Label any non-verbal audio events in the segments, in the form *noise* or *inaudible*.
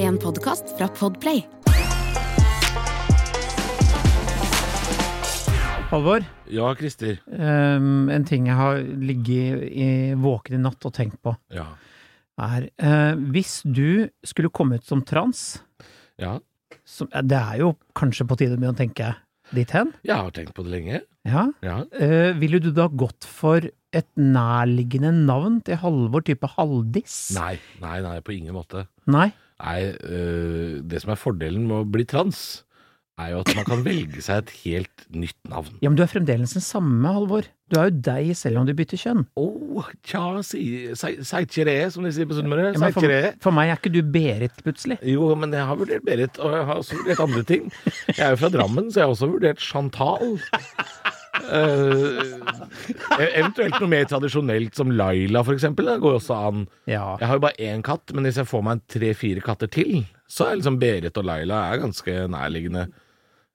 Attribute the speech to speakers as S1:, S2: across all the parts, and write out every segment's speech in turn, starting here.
S1: en podkast fra Podplay.
S2: Halvor,
S3: Ja, Christer.
S2: ehm, en ting jeg har ligget i, våken i natt og tenkt på,
S3: Ja.
S2: er eh, Hvis du skulle komme ut som trans,
S3: ja.
S2: som, eh, det er jo kanskje på tide med å tenke dit hen,
S3: Jeg har tenkt på det lenge.
S2: ja,
S3: Ja.
S2: eh, ville du da gått for et nærliggende navn til Halvor, type Haldis?
S3: Nei, nei, nei, på ingen måte.
S2: Nei?
S3: Nei, øh, det som er fordelen med å bli trans, er jo at man kan velge seg et helt nytt navn.
S2: Ja, men du er fremdeles den samme, Halvor. Du er jo deg selv om du bytter kjønn.
S3: Å, tja, si- sei- seitkjere, som de sier på Sunnmøre.
S2: Ja, men for,
S3: Seitkjere.
S2: for meg er ikke du Berit, plutselig.
S3: Jo, men jeg har vurdert Berit, og jeg har også vurdert andre ting. Jeg er jo fra Drammen, så jeg har også vurdert Chantal. Eh, eventuelt noe mer tradisjonelt som Laila, for eksempel. Det går jo også an.
S2: Ja.
S3: Jeg har jo bare én katt, men hvis jeg får meg en tre-fire katter til, så er liksom Berit og Laila er ganske nærliggende,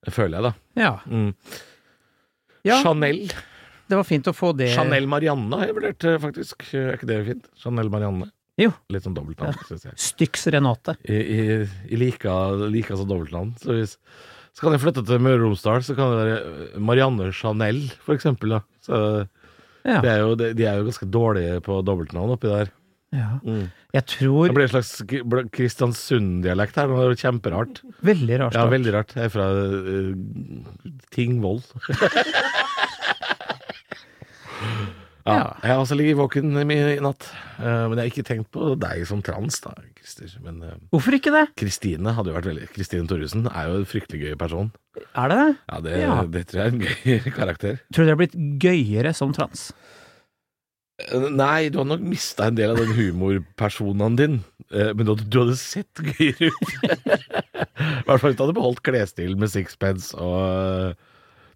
S3: føler jeg, da.
S2: Ja.
S3: Mm.
S2: ja
S3: Chanel.
S2: det var fint å få det
S3: Chanel Marianne har jeg vurdert, eh, faktisk. Er ikke det fint? Chanel Marianne.
S2: Jo.
S3: Litt sånn dobbeltnavn, synes jeg.
S2: Styx Renate.
S3: I, i, i like, like som dobbeltnavn. Så, hvis, så kan jeg flytte til Møre og Romsdal, så kan det være eh, Marianne Chanel, for eksempel. Da. Så,
S2: Ja.
S3: det er jo, de, de er jo ganske dårlige på dobbeltnavn oppi der.
S2: Ja.
S3: Mm.
S2: Jeg tror
S3: Det blir en slags k- bl- Kristiansund-dialekt her, men det er jo kjemperart.
S2: Veldig rart.
S3: Ja,
S2: da.
S3: veldig rart. Jeg er fra eh,
S2: *laughs*
S3: Tingvoll. ja,
S2: Ja.
S3: Jeg har også ligget våken i min- i natt, Eh, men jeg har ikke tenkt på deg som trans, da, Christer. Men eh,
S2: Hvorfor ikke det?
S3: Kristine hadde jo vært veldig Kristine Thoresen er jo en fryktelig gøy person.
S2: Er det det?
S3: Ja, det,
S2: Ja.
S3: det tror jeg er en gøy *laughs* karakter.
S2: Tror du det har blitt gøyere som trans?
S3: Eh, Nei, du har nok mista en del av den humorpersonaen din, eh, men du, hadde- du hadde sett gøyere ut. *laughs* I hvert fall hvis du hadde beholdt klesstilen med sixpence og eh,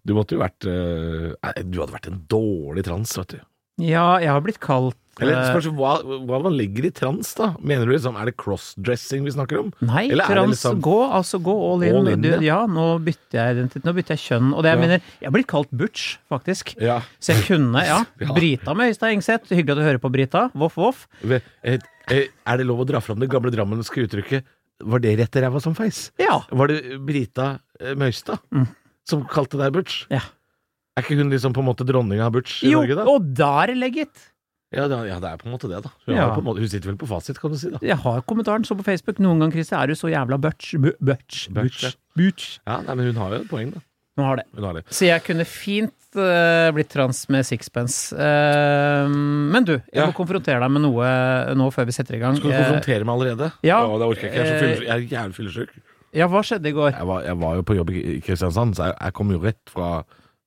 S3: Du måtte jo vært eh, Nei, du hadde vært en dårlig trans, vet du.
S2: Ja, jeg har blitt kalt
S3: Eller
S2: eh,
S3: spørs hva, hva man legger i trans, da. Mener du liksom Er det crossdressing vi snakker om?
S2: Nei,
S3: eller er det
S2: trans.
S3: liksom-
S2: Gå, altså gå all in.
S3: All in,
S2: du,
S3: ja.
S2: ja, nå bytter jeg identitet. Nå bytter jeg kjønn. Og det jeg
S3: Ja.
S2: mener, jeg har blitt kalt butch, faktisk.
S3: Ja.
S2: Så jeg kunne, ja.
S3: *laughs* Ja.
S2: Brita med Øystein Engseth. Hyggelig at du hører på, Brita. Voff, voff.
S3: Ve- eh, eh, Er det lov å dra fram det gamle drammenske uttrykket 'var det rett i ræva som feis'?
S2: Ja.
S3: Var det Brita eh, Møystad som kalte deg butch?
S2: Mm. ja.
S3: Er ikke hun liksom på en måte dronninga av butch i
S2: Jo,
S3: Norge, da?
S2: og der, legit.
S3: Ja, det, ja, det er på en måte det, da. Hun,
S2: Ja.
S3: har på en måte, hun sitter vel på fasit, kan du si, da.
S2: Jeg har kommentaren så på Facebook. Noen ganger, Christer, er du så jævla butch. bu- Butch.
S3: Butch, ja.
S2: Butch. Butch.
S3: Ja, nei, men Hun har jo et poeng, da.
S2: Nå har det.
S3: Hun har det.
S2: Så jeg kunne fint eh, blitt trans med sixpence. Eh, men du, jeg
S3: Ja.
S2: må konfrontere deg med noe nå før vi setter i gang.
S3: Skal du konfrontere meg allerede?
S2: Eh, ja.
S3: Å, det orker jeg ikke. Jeg er, så fylles- jeg er jævlig fyllesyk.
S2: Eh, ja, hva skjedde i går?
S3: Jeg, var- jeg var jo på jobb i i Kristiansand, så jeg, jeg kom jo rett fra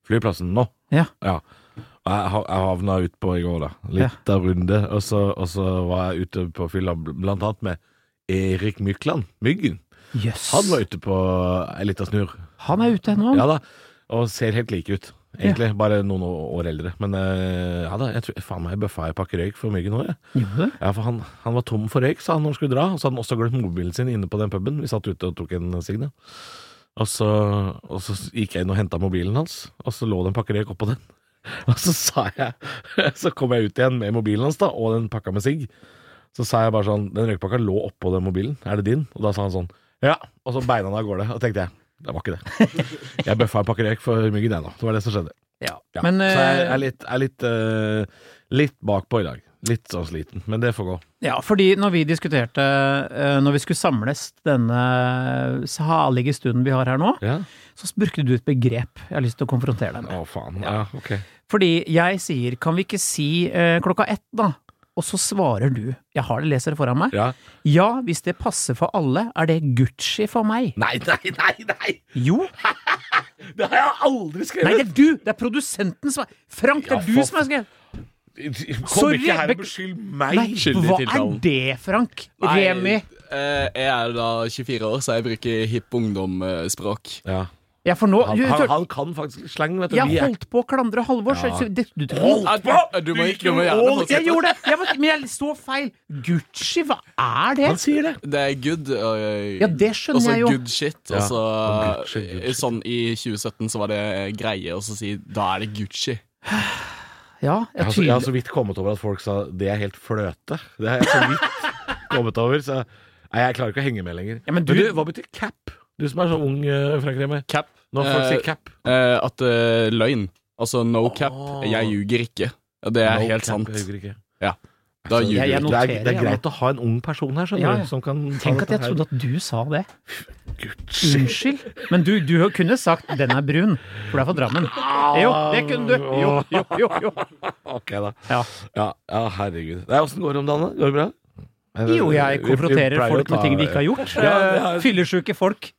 S3: flyplassen nå.
S2: Ja.
S3: Ja. Og jeg, ha- jeg havna utpå i går, da. Litt av runde. Og så, og så var jeg ute på fylla, bl- blant annet med Erik Mykland, Myggen.
S2: Jøss.
S3: Han var ute på ei lita snurr.
S2: Han er ute ennå.
S3: Ja da, og ser helt like ut. Egentlig, bare noen å- år eldre. Men eh, ja da, jeg tror faen meg jeg bøffa ei pakke røyk for myggen òg, jeg.
S2: Gjorde det?
S3: Ja, for han, han var tom for røyk, sa han når han skulle dra. Og så hadde han også glemt mobilen sin inne på den puben. Vi satt ute og tok en signe. Og så, og så gikk jeg inn og henta mobilen hans, og så lå det en pakke røyk oppå den. *laughs* Og så sa jeg *laughs* Så kom jeg ut igjen med mobilen hans da, og den pakka med sigg. Så sa jeg bare sånn Den røykpakka lå oppå den mobilen. Er det din? Og da sa han sånn Ja. Og så beina han av gårde. Og tenkte jeg Det var ikke det.
S2: *laughs*
S3: Jeg bøffa en pakke røyk for myggen, jeg nå. Det var det som skjedde.
S2: Ja.
S3: Ja.
S2: Men
S3: så jeg
S2: eh,
S3: er litt, er litt, eh, litt bakpå i dag. Litt sånn sliten, men det får gå.
S2: ja, fordi når vi diskuterte eh, Når vi skulle samles denne salige stunden vi har her nå,
S3: Ja.
S2: så brukte du et begrep jeg har lyst til å konfrontere deg med.
S3: Å, faen. Ja, ok.
S2: Fordi jeg sier, kan vi ikke si eh, klokka ett da? Og så svarer du, jeg har det leser det foran meg.
S3: Ja.
S2: Ja, hvis det passer for alle, er det Gucci for meg.
S3: Nei, nei, nei, nei!
S2: Jo,
S3: Det har jeg
S2: nei
S3: aldri
S2: det
S3: skrevet!
S2: er du, det er produsenten som er, Frank, det
S3: Ja,
S2: er du
S3: for-
S2: som har skrevet.
S3: Kom
S2: Sorry,
S3: ikke her
S2: bek-
S3: og beskyld meg!
S2: Nei,
S4: skyldig
S2: hva er
S4: tiltalen.
S2: det, Frank?
S4: Nei,
S2: Remi,
S4: eh, jeg er jo da 24 år, så jeg bruker hipp ungdom-språk.
S3: Ja.
S2: ja for nå,
S3: Han,
S2: du,
S3: han,
S2: tør-
S3: han kan faktisk slang, vet du.
S2: jeg
S3: Vi er-
S2: holdt på å klandre Halvor, så så det, du,
S3: Hold
S2: du,
S3: på!
S4: Du må ikke-
S3: gikk jo
S4: du må gjerne
S3: all-
S4: holde-
S2: jeg gjorde det, jeg, var- men jeg så feil. Gucci, hva er det?
S3: Han sier Altså, det.
S4: Det er good. Og,
S2: Ja, det skjønner jeg jo.
S4: Og så good shit. Og
S3: Ja,
S4: så
S3: og Gucci, Gucci.
S4: Sånn i 2017 så var det greie å så si da er det Gucci.
S2: Ja,
S3: Jeg
S2: jeg
S3: har, så, jeg har
S2: tydelig.
S3: så vidt kommet over at folk sa det er helt fløte. Det har jeg så vidt kommet over. Så Nei, jeg klarer ikke å henge med lenger.
S2: Ja, men
S3: Men du,
S2: du-
S3: hva betyr cap? Du som er så ung, eh, Frank Remi.
S4: Cap.
S3: Når folk
S4: Eh,
S3: sier cap.
S4: Eh, at eh, løgn. Altså no cap.
S3: Åh.
S4: Jeg ljuger ikke. Ja, Det er
S3: Ah. No
S4: helt
S3: cap,
S4: sant.
S3: jeg ljuger ikke.
S4: Ja. Da
S3: Altså,
S4: ljuger
S2: Jeg- jeg
S3: det, er,
S2: noterer,
S3: det er
S2: jeg nå.
S3: greit å ha en ung person her, skjønner
S2: Ja, ja.
S3: du, som kan ta
S2: Tenk at jeg
S3: dette her.
S2: trodde at du sa det.
S3: Gud,
S2: Unnskyld. Men du, du kunne sagt 'den er brun', for du er fra Drammen. Jo, det kunne du. Jo, jo, jo. jo.
S3: Ok, da.
S2: Ja.
S3: Ja, ja herregud. Nei, Åssen går det om dagen? da? Går det bra?
S2: Jo, jeg
S3: Vi- vi
S2: konfronterer
S3: pleier å
S2: folk med
S3: ta-
S2: ting de ikke har gjort.
S3: Ja, ja.
S2: Eh, Fyllesyke folk.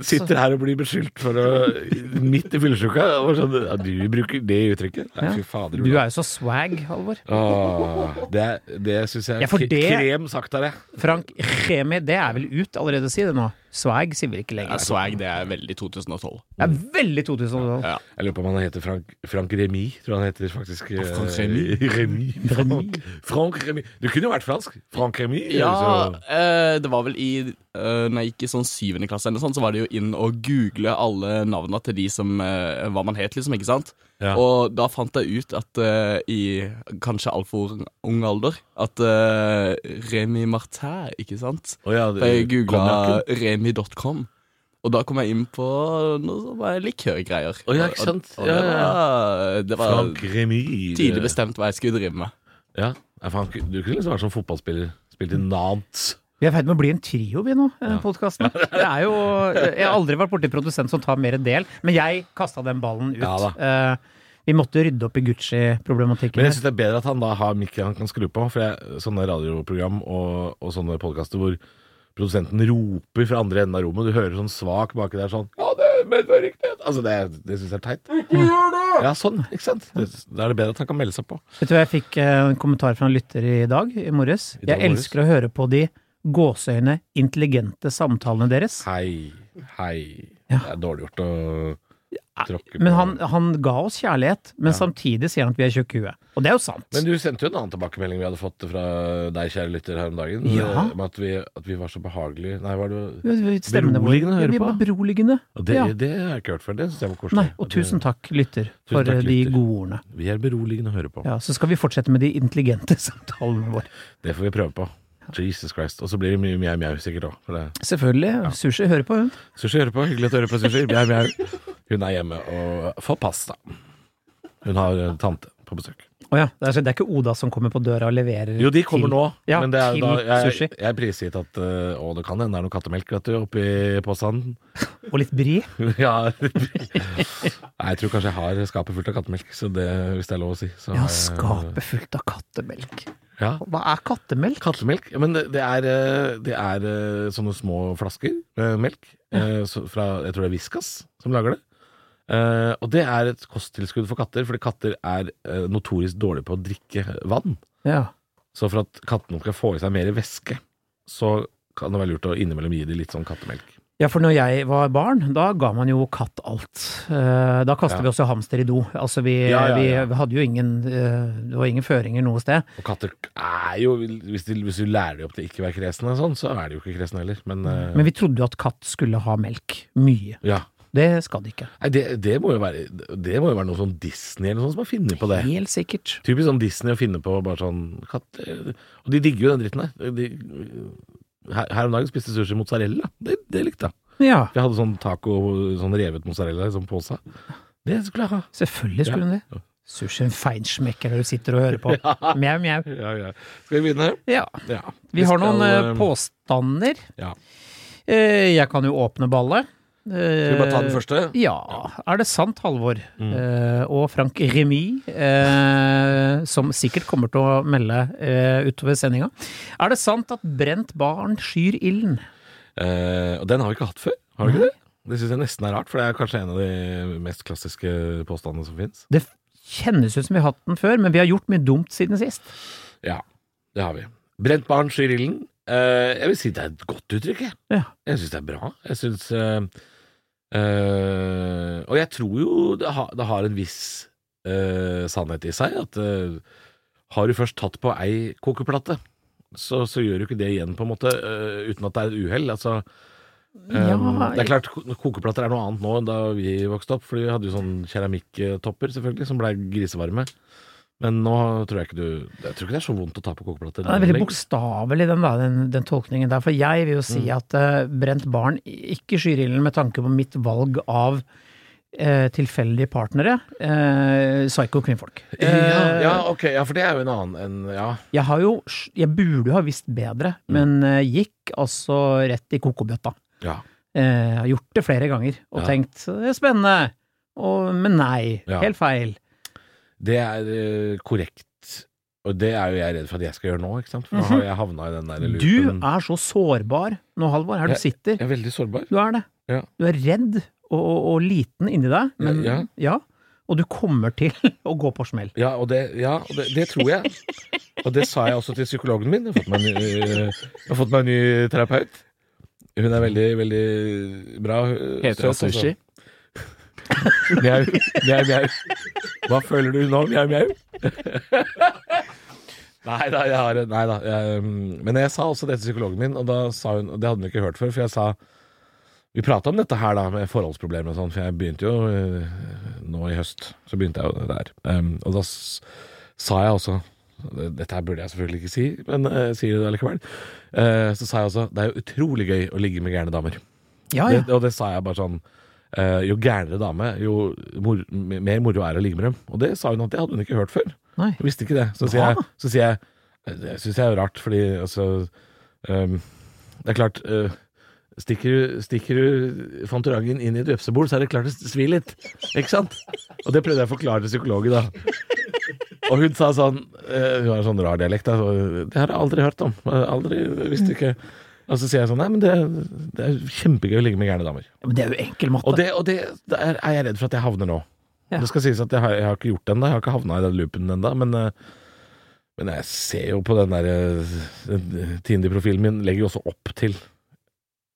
S3: Sitter her og blir beskyldt for å Midt i fyllesyka. og sånn, Ja, du bruker det uttrykket? Nei,
S2: Ja.
S3: fy fader.
S2: Du er jo så swag, Halvor.
S3: Åh, det er- det syns jeg
S2: Ja,
S3: er
S2: for
S3: k-
S2: det-
S3: krem sagt av deg.
S2: Frank Remi, det er vel ut allerede, si det nå. Swag sier vi ikke
S4: Ja,
S2: lenger.
S4: swag, det er veldig 2012.
S2: Det er veldig 2012.
S3: Jeg lurer på om han heter Frank, Frank Remy, tror han heter faktisk. eh,
S4: Frank Remy?
S3: Remy.
S2: Remy.
S3: Frank, Frank Remy. Du kunne jo vært fransk. Frank Remy.
S4: Ja,
S3: så-
S4: eh, det var vel i eh, Når jeg gikk i sånn syvende klasse, eller sånn, så var det jo inn og google alle navnene til de som eh, Hva man het, liksom. ikke sant?
S3: Ja.
S4: Og da fant jeg ut at eh, i kanskje altfor ung alder at eh, Remi Martin, ikke sant?
S3: Å ja, det-
S4: For jeg googla
S3: konjakken.
S4: remi.com, og da kom jeg inn på noe som var likørgreier.
S3: Å ja, ikke sant?
S4: Og, og
S3: Ja,
S4: det
S3: ja,
S4: var, det var
S3: Frank Remy.
S4: tidlig bestemt hva jeg skulle drive med.
S3: Ja. Nei, Frank, du kunne liksom vært som fotballspiller. Spilt i Nantes.
S2: Vi er i ferd med å bli en trio, vi nå, i den podkasten. Det er jo Jeg har aldri vært borti en produsent som tar mer del, men jeg kasta den ballen ut.
S3: Ja da.
S2: Eh, vi måtte rydde opp i Gucci-problematikken.
S3: Men jeg
S2: her.
S3: syns det er bedre at han da har mikken han kan skru på. For jeg, sånne radioprogram og, og sånne podkaster hvor produsenten roper fra andre enden av rommet, du hører sånn svak baki der sånn Ja, det, men det er riktig. Altså, det, det syns jeg er teit. Ikke gjør det! Ja, sånn. Ikke sant. Det, da er det bedre at han kan melde seg på.
S2: Vet du hva jeg fikk eh, en kommentar fra en lytter i dag, i morges?
S3: I dag
S2: jeg
S3: morges?
S2: elsker å høre på de gåseøyne intelligente samtalene deres.
S3: Hei, hei.
S2: Ja.
S3: Det er dårlig gjort å tråkke på
S2: Men han, han ga oss kjærlighet, men samtidig sier han at vi er tjukke i huet. Og det er jo sant.
S3: Men du sendte jo en annen tilbakemelding vi hadde fått fra deg, kjære lytter, her om dagen.
S2: Ja.
S3: Med at vi, at vi var så behagelige. Nei, var det
S2: Stemmene våre.
S3: Beroligende å høre
S2: Ja, vi
S3: på.
S2: var beroligende.
S3: Og det,
S2: Ja.
S3: det har jeg ikke hørt før. Det syns jeg var koselig.
S2: Nei, og
S3: At vi-
S2: tusen takk, lytter, for
S3: Tusen takk,
S2: eh, de
S3: lytter.
S2: gode ordene.
S3: Vi er beroligende å høre på.
S2: Ja, Så skal vi fortsette med de intelligente *laughs* samtalene våre.
S3: Det får vi prøve på. Jesus Christ. Og så blir det mye mjau mjau sikkert òg. For det
S2: Selvfølgelig. Sushi hører på, hun.
S3: Sushi hører på. Hyggelig at du hører på, Sushi. *laughs* Mjau mjau. Hun er hjemme og får pasta. Hun har eh, tante på besøk.
S2: Å ja. Det er, så- det er ikke Oda som kommer på døra og leverer
S3: Jo, de kommer
S2: til-
S3: nå.
S2: Ja,
S3: men det er,
S2: til
S3: da, jeg,
S2: sushi.
S3: jeg er prisgitt at eh, Å, det kan hende det er noe kattemelk vet du, oppi påstanden. *laughs*
S2: Og litt bri.
S3: ja.
S2: *laughs*
S3: Nei, jeg tror kanskje jeg har skapet fullt av kattemelk, så det, hvis det er lov å si. Så
S2: Ja,
S3: har jeg-
S2: skapet fullt av kattemelk.
S3: Ja.
S2: Hva er kattemelk?
S3: Kattemelk? Ja, men det det er, eh, det er eh, sånne små flasker med melk eh, så- fra Jeg tror det er Viskas som lager det. Eh, og det er et kosttilskudd for katter, fordi katter er eh, notorisk dårlige på å drikke vann.
S2: Ja.
S3: Så for at kattene skal få i seg mer væske, så kan det være lurt å innimellom gi dem litt sånn kattemelk.
S2: ja, for når jeg var barn, da ga man jo katt alt. Eh, Da kastet
S3: Ja.
S2: vi også hamster i do. Altså, vi,
S3: Ja, ja, ja.
S2: vi hadde jo ingen eh, Det var ingen føringer noe sted.
S3: Og katter er jo Hvis, de, hvis du lærer dem opp til ikke å være kresne, og sånn, så er de jo ikke kresne heller. Men, eh,
S2: Men vi trodde jo at katt skulle ha melk. Mye.
S3: ja.
S2: Det skal de ikke.
S3: Nei, det, det, må jo være, det må jo være noe sånn Disney eller noe sånt som har funnet på det.
S2: Helt sikkert.
S3: Typisk sånn Disney å finne på bare sånn katt Og de digger jo den dritten der. De, her, her om dagen spiste sushi mozzarella. Det, det likte jeg.
S2: Ja,
S3: Jeg hadde sånn taco, sånn revet mozzarella i sånn pose. Det skulle jeg ha.
S2: selvfølgelig skulle hun det. Sushi, en feinschmecker der du sitter og hører på. Mjau, mjau.
S3: *laughs* Ja, ja. Skal vi begynne?
S2: Ja.
S3: Ja.
S2: Vi har
S3: skal,
S2: noen eh,
S3: eh,
S2: påstander.
S3: ja.
S2: Eh, Jeg kan jo åpne ballet.
S3: Skal vi bare ta
S2: Eh,
S3: den første?
S2: Ja. Er det sant, Halvor?
S3: Mm.
S2: Eh, og Frank Remy, eh, som sikkert kommer til å melde eh, utover sendinga. Er det sant at brent barn skyr ilden?
S3: Eh, og den har vi ikke hatt før. Har vi ikke det? Det syns jeg nesten er rart, for det er kanskje en av de mest klassiske påstandene som fins.
S2: Det kjennes ut som vi har hatt den før, men vi har gjort mye dumt siden sist.
S3: Ja, det har vi. Brent barn skyr ilden. Eh, jeg vil si det er et godt uttrykk, jeg.
S2: Ja.
S3: Jeg syns det er bra. Jeg syns eh, eh, Og jeg tror jo det, ha, det har en viss eh, sannhet i seg at eh, har du først tatt på ei kokeplate, så, så gjør du ikke det igjen, på en måte, eh, uten at det er et uhell. Altså, eh,
S2: Ja,
S3: det er klart, ko- kokeplater er noe annet nå enn da vi vokste opp, for vi hadde jo sånn keramikktopper, selvfølgelig, som blei grisevarme. Men nå tror jeg ikke du Jeg tror ikke det er så vondt å ta på kokeplater.
S2: Det er veldig bokstavelig, den, da, den, den tolkningen der. For jeg vil jo si
S3: Mm.
S2: at eh, brent barn ikke skyr ilden med tanke på mitt valg av eh, tilfeldige partnere. Eh, psyko kvinnfolk.
S3: ja,
S2: Eh,
S3: ja, ok, ja, for det er jo en annen enn Ja.
S2: Jeg har jo Jeg burde jo ha visst bedre,
S3: Mm.
S2: men eh, gikk altså rett i kokobøtta.
S3: ja.
S2: Eh, Jeg har gjort det flere ganger og
S3: Ja.
S2: tenkt det er spennende, og, men nei.
S3: Ja.
S2: Helt feil.
S3: Det er eh, korrekt. Og det er jo jeg redd for at jeg skal gjøre nå, ikke sant? For nå har
S2: Mhm.
S3: jeg havna i den der
S2: Du
S3: loopen.
S2: er så sårbar nå, Halvor, her du
S3: Jeg-
S2: sitter.
S3: Jeg er veldig sårbar.
S2: Du er det.
S3: Ja.
S2: Du er redd og, og, og liten inni deg, men ja,
S3: Ja,
S2: Og du kommer til *laughs* å gå på smell.
S3: Ja, og det, ja, og det, det tror jeg. Og det sa jeg også til psykologen min. Jeg har fått meg en ny, eh, jeg har fått meg en ny terapeut. Hun er veldig, veldig bra. øh,
S4: Heter det
S3: søt, altså.
S4: sushi?
S3: Mjau, mjau, mjau. Hva føler du nå, mjau, mjau? Nei da, jeg har Nei da. Jeg, mm, men jeg sa også det til psykologen min, og da sa hun Og det hadde hun ikke hørt før, for jeg sa Vi prata om dette her, da, med forholdsproblemer og sånn, for jeg begynte jo eh, nå i høst. Så begynte jeg jo der. Em, og da s sa jeg også dette her burde jeg selvfølgelig ikke si, men eh, jeg sier det allikevel. Eh, så sa jeg også det er jo utrolig gøy å ligge med gærne damer.
S2: Ja, ja.
S3: Det, og det sa jeg bare sånn eh, Jo gærnere dame, jo mor, mer moro er det å ligge med dem. Og det sa hun at det hadde hun ikke hørt før.
S2: Nei.
S3: Jeg visste ikke det. Så sier
S2: Bra.
S3: jeg, så sier jeg eh, Det syns jeg er rart, fordi altså ehm, Det er klart eh, Stikker du, stikker du Fantorangen inn i et vepsebol, så er det klart det svir litt. Ikke sant? Og det prøvde jeg å forklare til psykologen, da. Og hun sa sånn eh, Hun har en sånn rar dialekt. Da, så, det har jeg aldri hørt om. Jeg har Aldri, jeg visste ikke Og så sier jeg sånn Nei, men det, det er kjempegøy å ligge med gærne damer.
S2: Men det er jo enkel matte.
S3: Og det, og det der er jeg redd for at jeg havner nå.
S2: Ja.
S3: Det skal sies at jeg har, jeg har ikke gjort det ennå, jeg har ikke havna i den loopen ennå, men, eh, men jeg ser jo på den der eh, Tinder-profilen min, legger jo også opp til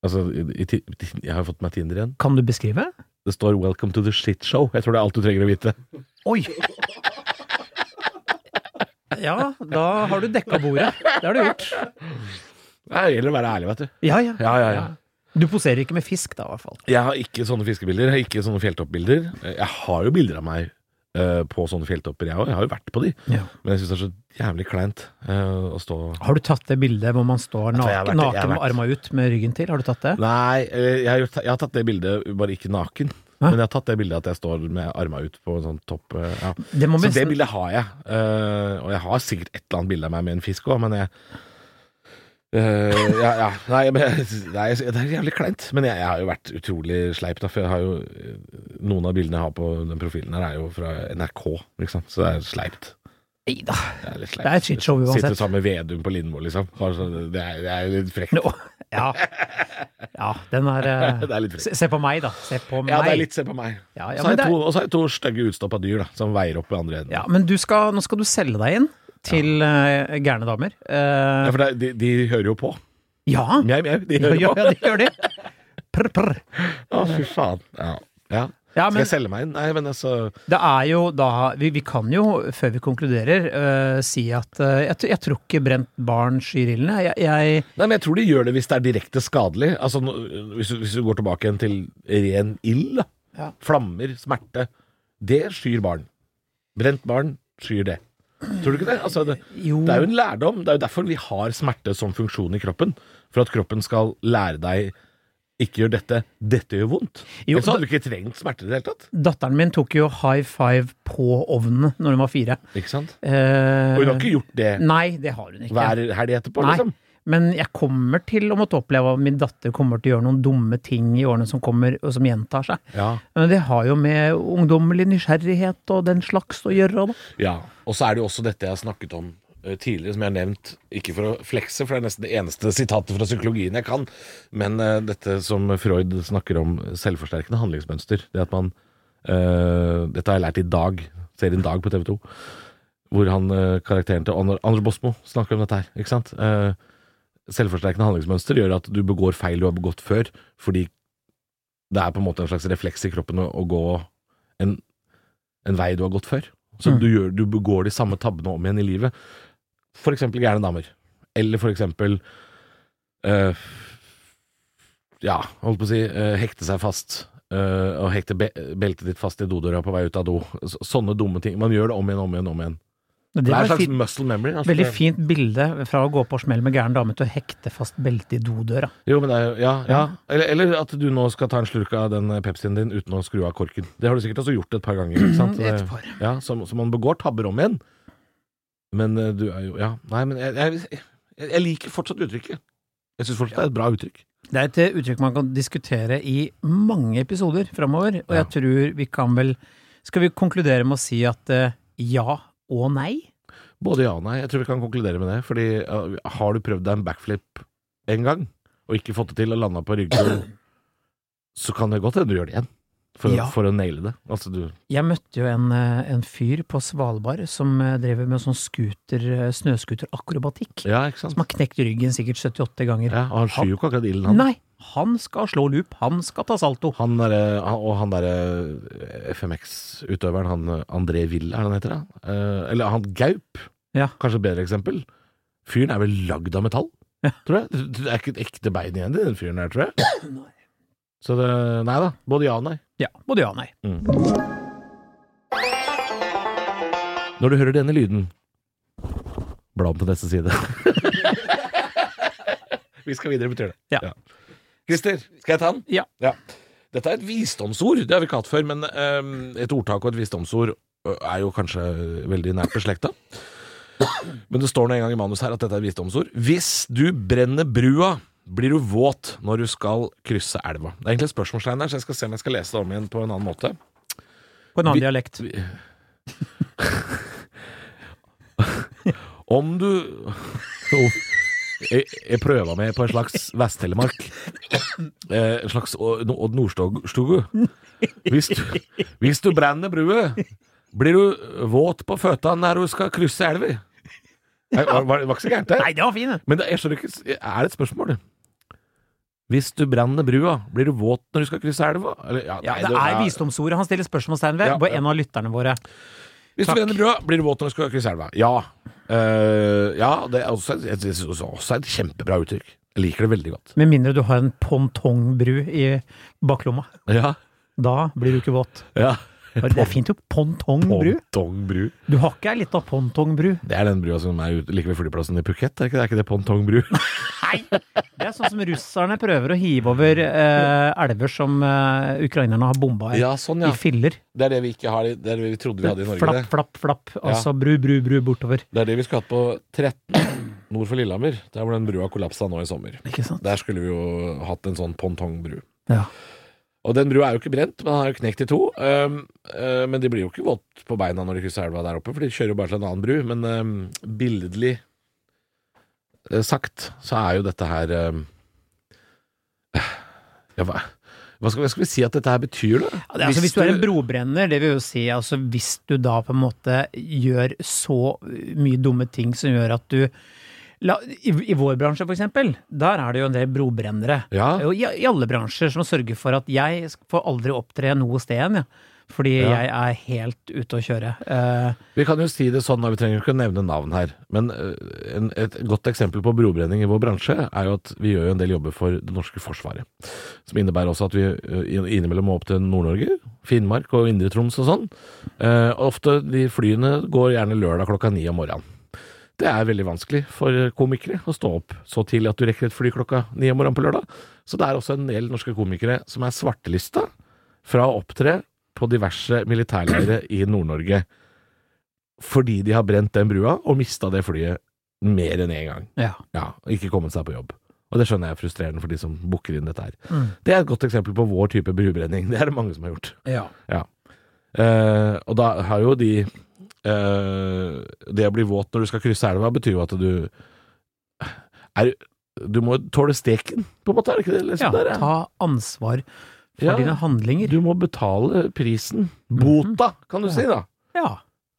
S3: Altså, i, i, ti- ti- jeg har jo fått meg Tinder igjen.
S2: Kan du beskrive?
S3: Det står 'Welcome to the shit show'. Jeg tror det er alt du trenger å vite. *laughs*
S2: Oi! Ja, da har du dekka bordet. Det har du gjort.
S3: Det gjelder å være ærlig, vet du.
S2: Ja, ja.
S3: Ja, ja, ja.
S2: Du poserer ikke med fisk da, i hvert fall.
S3: Jeg har ikke sånne fiskebilder, jeg har ikke sånne fjelltoppbilder. Jeg har jo bilder av meg eh, på sånne fjelltopper, jeg òg. Jeg har jo vært på de. Men jeg syns det er så jævlig kleint eh, å stå
S2: Har du tatt det bildet hvor man står
S3: Altså, Jeg tror jeg har vært-
S2: naken,
S3: jeg har
S2: naken med
S3: vært-
S2: arma ut med ryggen til? Har du tatt det?
S3: *laughs* Nei, eh, jeg har, gjort, jeg har tatt det bildet, bare ikke naken. Men jeg har tatt det bildet at jeg står med arma ut på en sånn topp. eh, Ja.
S2: Det må
S3: Så det
S2: nesten-
S3: bildet har jeg. eh, og jeg har sikkert et eller annet bilde av meg med en fisk òg, men jeg eh, ja, ja. Nei, men, nei, det er jævlig kleint. Men jeg, jeg har jo vært utrolig sleip, da. For jeg har jo eh, Noen av bildene jeg har på den profilen her, er jo fra NRK, ikke sant. Så det er sleipt.
S2: Nei da.
S3: Det er
S2: Det er
S3: litt sleipt.
S2: et shitshow uansett.
S3: Sitter sammen med Vedum på Lindmo, liksom. Bare sånn, Det er, det er litt frekt.
S2: Nå, ja. ja, den
S3: *laughs*
S2: er eh,
S3: Det er litt frekt.
S2: se, se på meg, da. Se på meg.
S3: Ja, det er litt se på meg.
S2: Ja, ja,
S3: så har
S2: men
S3: jeg
S2: det er-
S3: to- og så har jeg to stygge utstoppa dyr da, som veier opp i andre enden.
S2: Ja, men du skal, nå skal du selge deg inn til eh, gærne damer. Eh,
S3: Ja, for det, er- de, de hører jo på.
S2: ja, ja,
S3: Mjau, mjau. De
S2: ja,
S3: hører på.
S2: ja, det gjør de. Prr, prr.
S3: Å, fy faen. Ja. ja.
S2: Ja,
S3: Skal
S2: men
S3: jeg selge meg inn? Nei, men altså
S2: det er jo da Vi, vi kan jo, før vi konkluderer, eh, si at eh, jeg, tr- jeg tror ikke brent barn skyr ilden. Jeg, jeg,
S3: Nei, men jeg tror de gjør det hvis det er direkte skadelig. Altså, nå- hvis, du- hvis du går tilbake igjen til ren ild, da.
S2: Ja.
S3: Flammer, smerte. Det skyr barn. Brent barn skyr det. Tror du ikke det? Altså, det,
S2: jo
S3: Det er jo en lærdom. Det er jo derfor vi har smerte som funksjon i kroppen. For at kroppen skal lære deg ikke gjør dette, dette gjør vondt.
S2: Jo,
S3: Ellers hadde du ikke trengt smerte i det hele tatt.
S2: Datteren min tok jo high five på ovnen når hun var fire.
S3: Ikke sant?
S2: Eh,
S3: Og hun har ikke gjort det
S2: Nei, det har hun ikke.
S3: hver helg etterpå,
S2: Nei.
S3: liksom.
S2: Men jeg kommer til å måtte oppleve at min datter kommer til å gjøre noen dumme ting i årene som kommer, og som gjentar seg.
S3: Ja.
S2: Men det har jo med ungdommelig nysgjerrighet og den slags å gjøre. Da.
S3: ja. Og så er det jo også dette jeg har snakket om eh, tidligere, som jeg har nevnt, ikke for å flekse, for det er nesten det eneste sitatet fra psykologien jeg kan, men eh, dette som Freud snakker om, selvforsterkende handlingsmønster. Det at man eh, Dette har jeg lært i dag, serien Dag på TV 2. hvor han eh, karakteren til Ander- Anders Bosmo snakker om dette her, ikke sant? Eh, selvforsterkende handlingsmønster gjør at du begår feil du har begått før, fordi det er på en måte en slags refleks i kroppen å, å gå en, en vei du har gått før. Så
S2: Mm.
S3: du, gjør, du begår de samme tabbene om igjen i livet. For eksempel gærne damer. Eller for eksempel eh, Ja, holdt på å si eh, hekte seg fast. eh, og hekte be beltet ditt fast i dodøra på vei ut av do. Så, sånne dumme ting. Man gjør det om igjen, om igjen, om igjen.
S2: Det
S3: Det er
S2: var
S3: en
S2: et
S3: slags
S2: fint,
S3: muscle memory. altså.
S2: veldig fint bilde fra å gå på smell med gæren dame til å hekte fast belte i dodøra.
S3: Jo, men det er jo Ja. ja. Eller, eller at du nå skal ta en slurk av den Pepsien din uten å skru av korken. Det har du sikkert også gjort et par ganger. Ikke sant?
S2: Et
S3: Det-
S2: par.
S3: Ja, så, så man begår tabber om igjen. Men eh, du er jo Ja. Nei, men jeg, jeg, jeg, jeg liker fortsatt uttrykket. Jeg syns fortsatt det er et bra uttrykk.
S2: Det er et eh, uttrykk man kan diskutere i mange episoder framover, og
S3: Ja.
S2: jeg tror vi kan vel Skal vi konkludere med å si at eh, ja og nei?
S3: Både ja og nei. Jeg tror vi kan konkludere med det. Fordi ja, har du prøvd deg en backflip en gang, og ikke fått det til og landa på ryggen, så kan det godt hende du gjør det igjen. For,
S2: Ja.
S3: å, for å naile det. Altså, du
S2: Jeg møtte jo en, eh, en fyr på Svalbard som eh, driver med sånn scooter, eh, snøscooterakrobatikk.
S3: Ja, ikke sant?
S2: Som har knekt ryggen sikkert 78 ganger.
S3: Ja, og han skyr jo ikke akkurat ilden, han.
S2: Nei! Han skal slå loop, han skal ta salto.
S3: Han der, eh, han- og han derre FMX-utøveren, han eh, André Ville, er det han heter? da? Eh, eller han Gaup,
S2: Ja.
S3: kanskje et bedre eksempel. Fyren er vel lagd av metall, tror jeg. Det det er ikke et ekte bein igjen i den fyren der, tror jeg. Så det, nei da. Både ja og nei.
S2: Ja, både ja og nei.
S3: Mm. Når du hører denne lyden Bla om til neste side. *laughs* Vi skal videre, betyr det.
S2: Ja.
S3: Christer, skal jeg ta den?
S2: Ja.
S3: Dette er et visdomsord. Det har vi ikke hatt før, men ehm, et ordtak og et visdomsord ø, er jo kanskje veldig nært beslekta. Men det står nå en gang i manus her at dette er et visdomsord. Hvis du brenner brua, blir du våt når du skal krysse elva. Det er egentlig et spørsmålstegn her, så jeg skal se om jeg skal lese det om igjen på en annen måte.
S2: På en annen
S3: Vi-
S2: dialekt.
S3: Om du Jo, jeg, jeg prøver meg på en slags Vest-Telemark. Eh, En slags å- no- Odd Nordstogu. Hvis, du- hvis du brenner brua, blir du våt på føttene når du skal krysse elva. Det var, var var ikke så gærent, det.
S2: Nei, det var fin, den!
S3: Men det, jeg skjønner ikke, er det et spørsmål? Hvis du brenner brua, blir du våt når du skal krysse elva? Eller, ja,
S2: Ja,
S3: nei,
S2: det er visdomsordet han stiller spørsmålstegn ved
S3: Ja,
S2: på
S3: ja.
S2: en av lytterne våre.
S3: Hvis du
S2: Takk.
S3: brenner brua, blir du våt når du skal krysse elva. Ja. Eh, ja, det er også, jeg synes også, også et kjempebra uttrykk. Jeg liker det veldig godt.
S2: Med mindre du har en pongtongbru i baklomma.
S3: Ja,
S2: Da blir du ikke våt.
S3: ja.
S2: Det er fint jo. Pongtongbru.
S3: Pontongbru.
S2: Du har ikke ei lita pongtongbru.
S3: Det er den brua som er ute like ved flyplassen i Phuket, er ikke det? Er ikke det Pontongbru?
S2: Nei! Det er sånn som russerne prøver å hive over eh, elver som eh, ukrainerne har bomba i,
S3: sånn
S2: i filler.
S3: Det er det vi ikke har, i- det er det vi trodde vi hadde i Norge.
S2: Flapp,
S3: Det,
S2: flapp, flapp. Altså bru, bru, bru bortover.
S3: det er det vi skulle hatt på 13 nord for Lillehammer. Der hvor den brua kollapsa nå i sommer.
S2: Ikke sant?
S3: Der skulle vi jo hatt en sånn pontongbru.
S2: Ja.
S3: Og den brua er jo ikke brent, men den er jo knekt i to. Ehm, eh, men de blir jo ikke våt på beina når de krysser elva der oppe, for de kjører jo bare til en annen bru. Men ehm, billedlig eh, sagt så er jo dette her ehm, *sighs* ja, hva, hva, skal, hva skal vi si at dette her betyr, da?
S2: Ja, det, er altså, hvis du er en brobrenner, det vil jo si altså, hvis du da på en måte gjør så mye dumme ting som gjør at du La, i, I vår bransje, for eksempel, der er det jo en del brobrennere.
S3: Ja.
S2: Og I, I alle bransjer som sørger for at jeg sk- får aldri opptre noe sted igjen, ja. fordi
S3: Ja.
S2: jeg er helt ute å kjøre. Eh,
S3: Vi kan jo si det sånn, og vi trenger jo ikke å nevne navn her, men eh, en, et godt eksempel på brobrenning i vår bransje er jo at vi gjør jo en del jobber for det norske forsvaret. Som innebærer også at vi eh, innimellom må opp til Nord-Norge, Finnmark og Indre Troms og sånn. Eh, og ofte de flyene går gjerne lørdag klokka ni om morgenen. Det er veldig vanskelig for komikere å stå opp så tidlig at du rekker et fly klokka ni om morgenen på lørdag. Så det er også en del norske komikere som er svartelista fra å opptre på diverse militærleire i Nord-Norge fordi de har brent den brua og mista det flyet mer enn én gang.
S2: ja.
S3: Ja, og ikke kommet seg på jobb. Og det skjønner jeg er frustrerende for de som booker inn dette her.
S2: Mm.
S3: Det er et godt eksempel på vår type brubrenning. *laughs* Det er det mange som har gjort.
S2: ja.
S3: Eh, og da har jo de eh, Det å bli våt når du skal krysse elva, betyr jo at du er, Du må tåle steken, på en måte. Er det ikke det? Liksom der,
S2: Ta ansvar for
S3: Ja.
S2: dine handlinger.
S3: Du må betale prisen. Bota, kan du si, da.
S2: Mhm. Ja.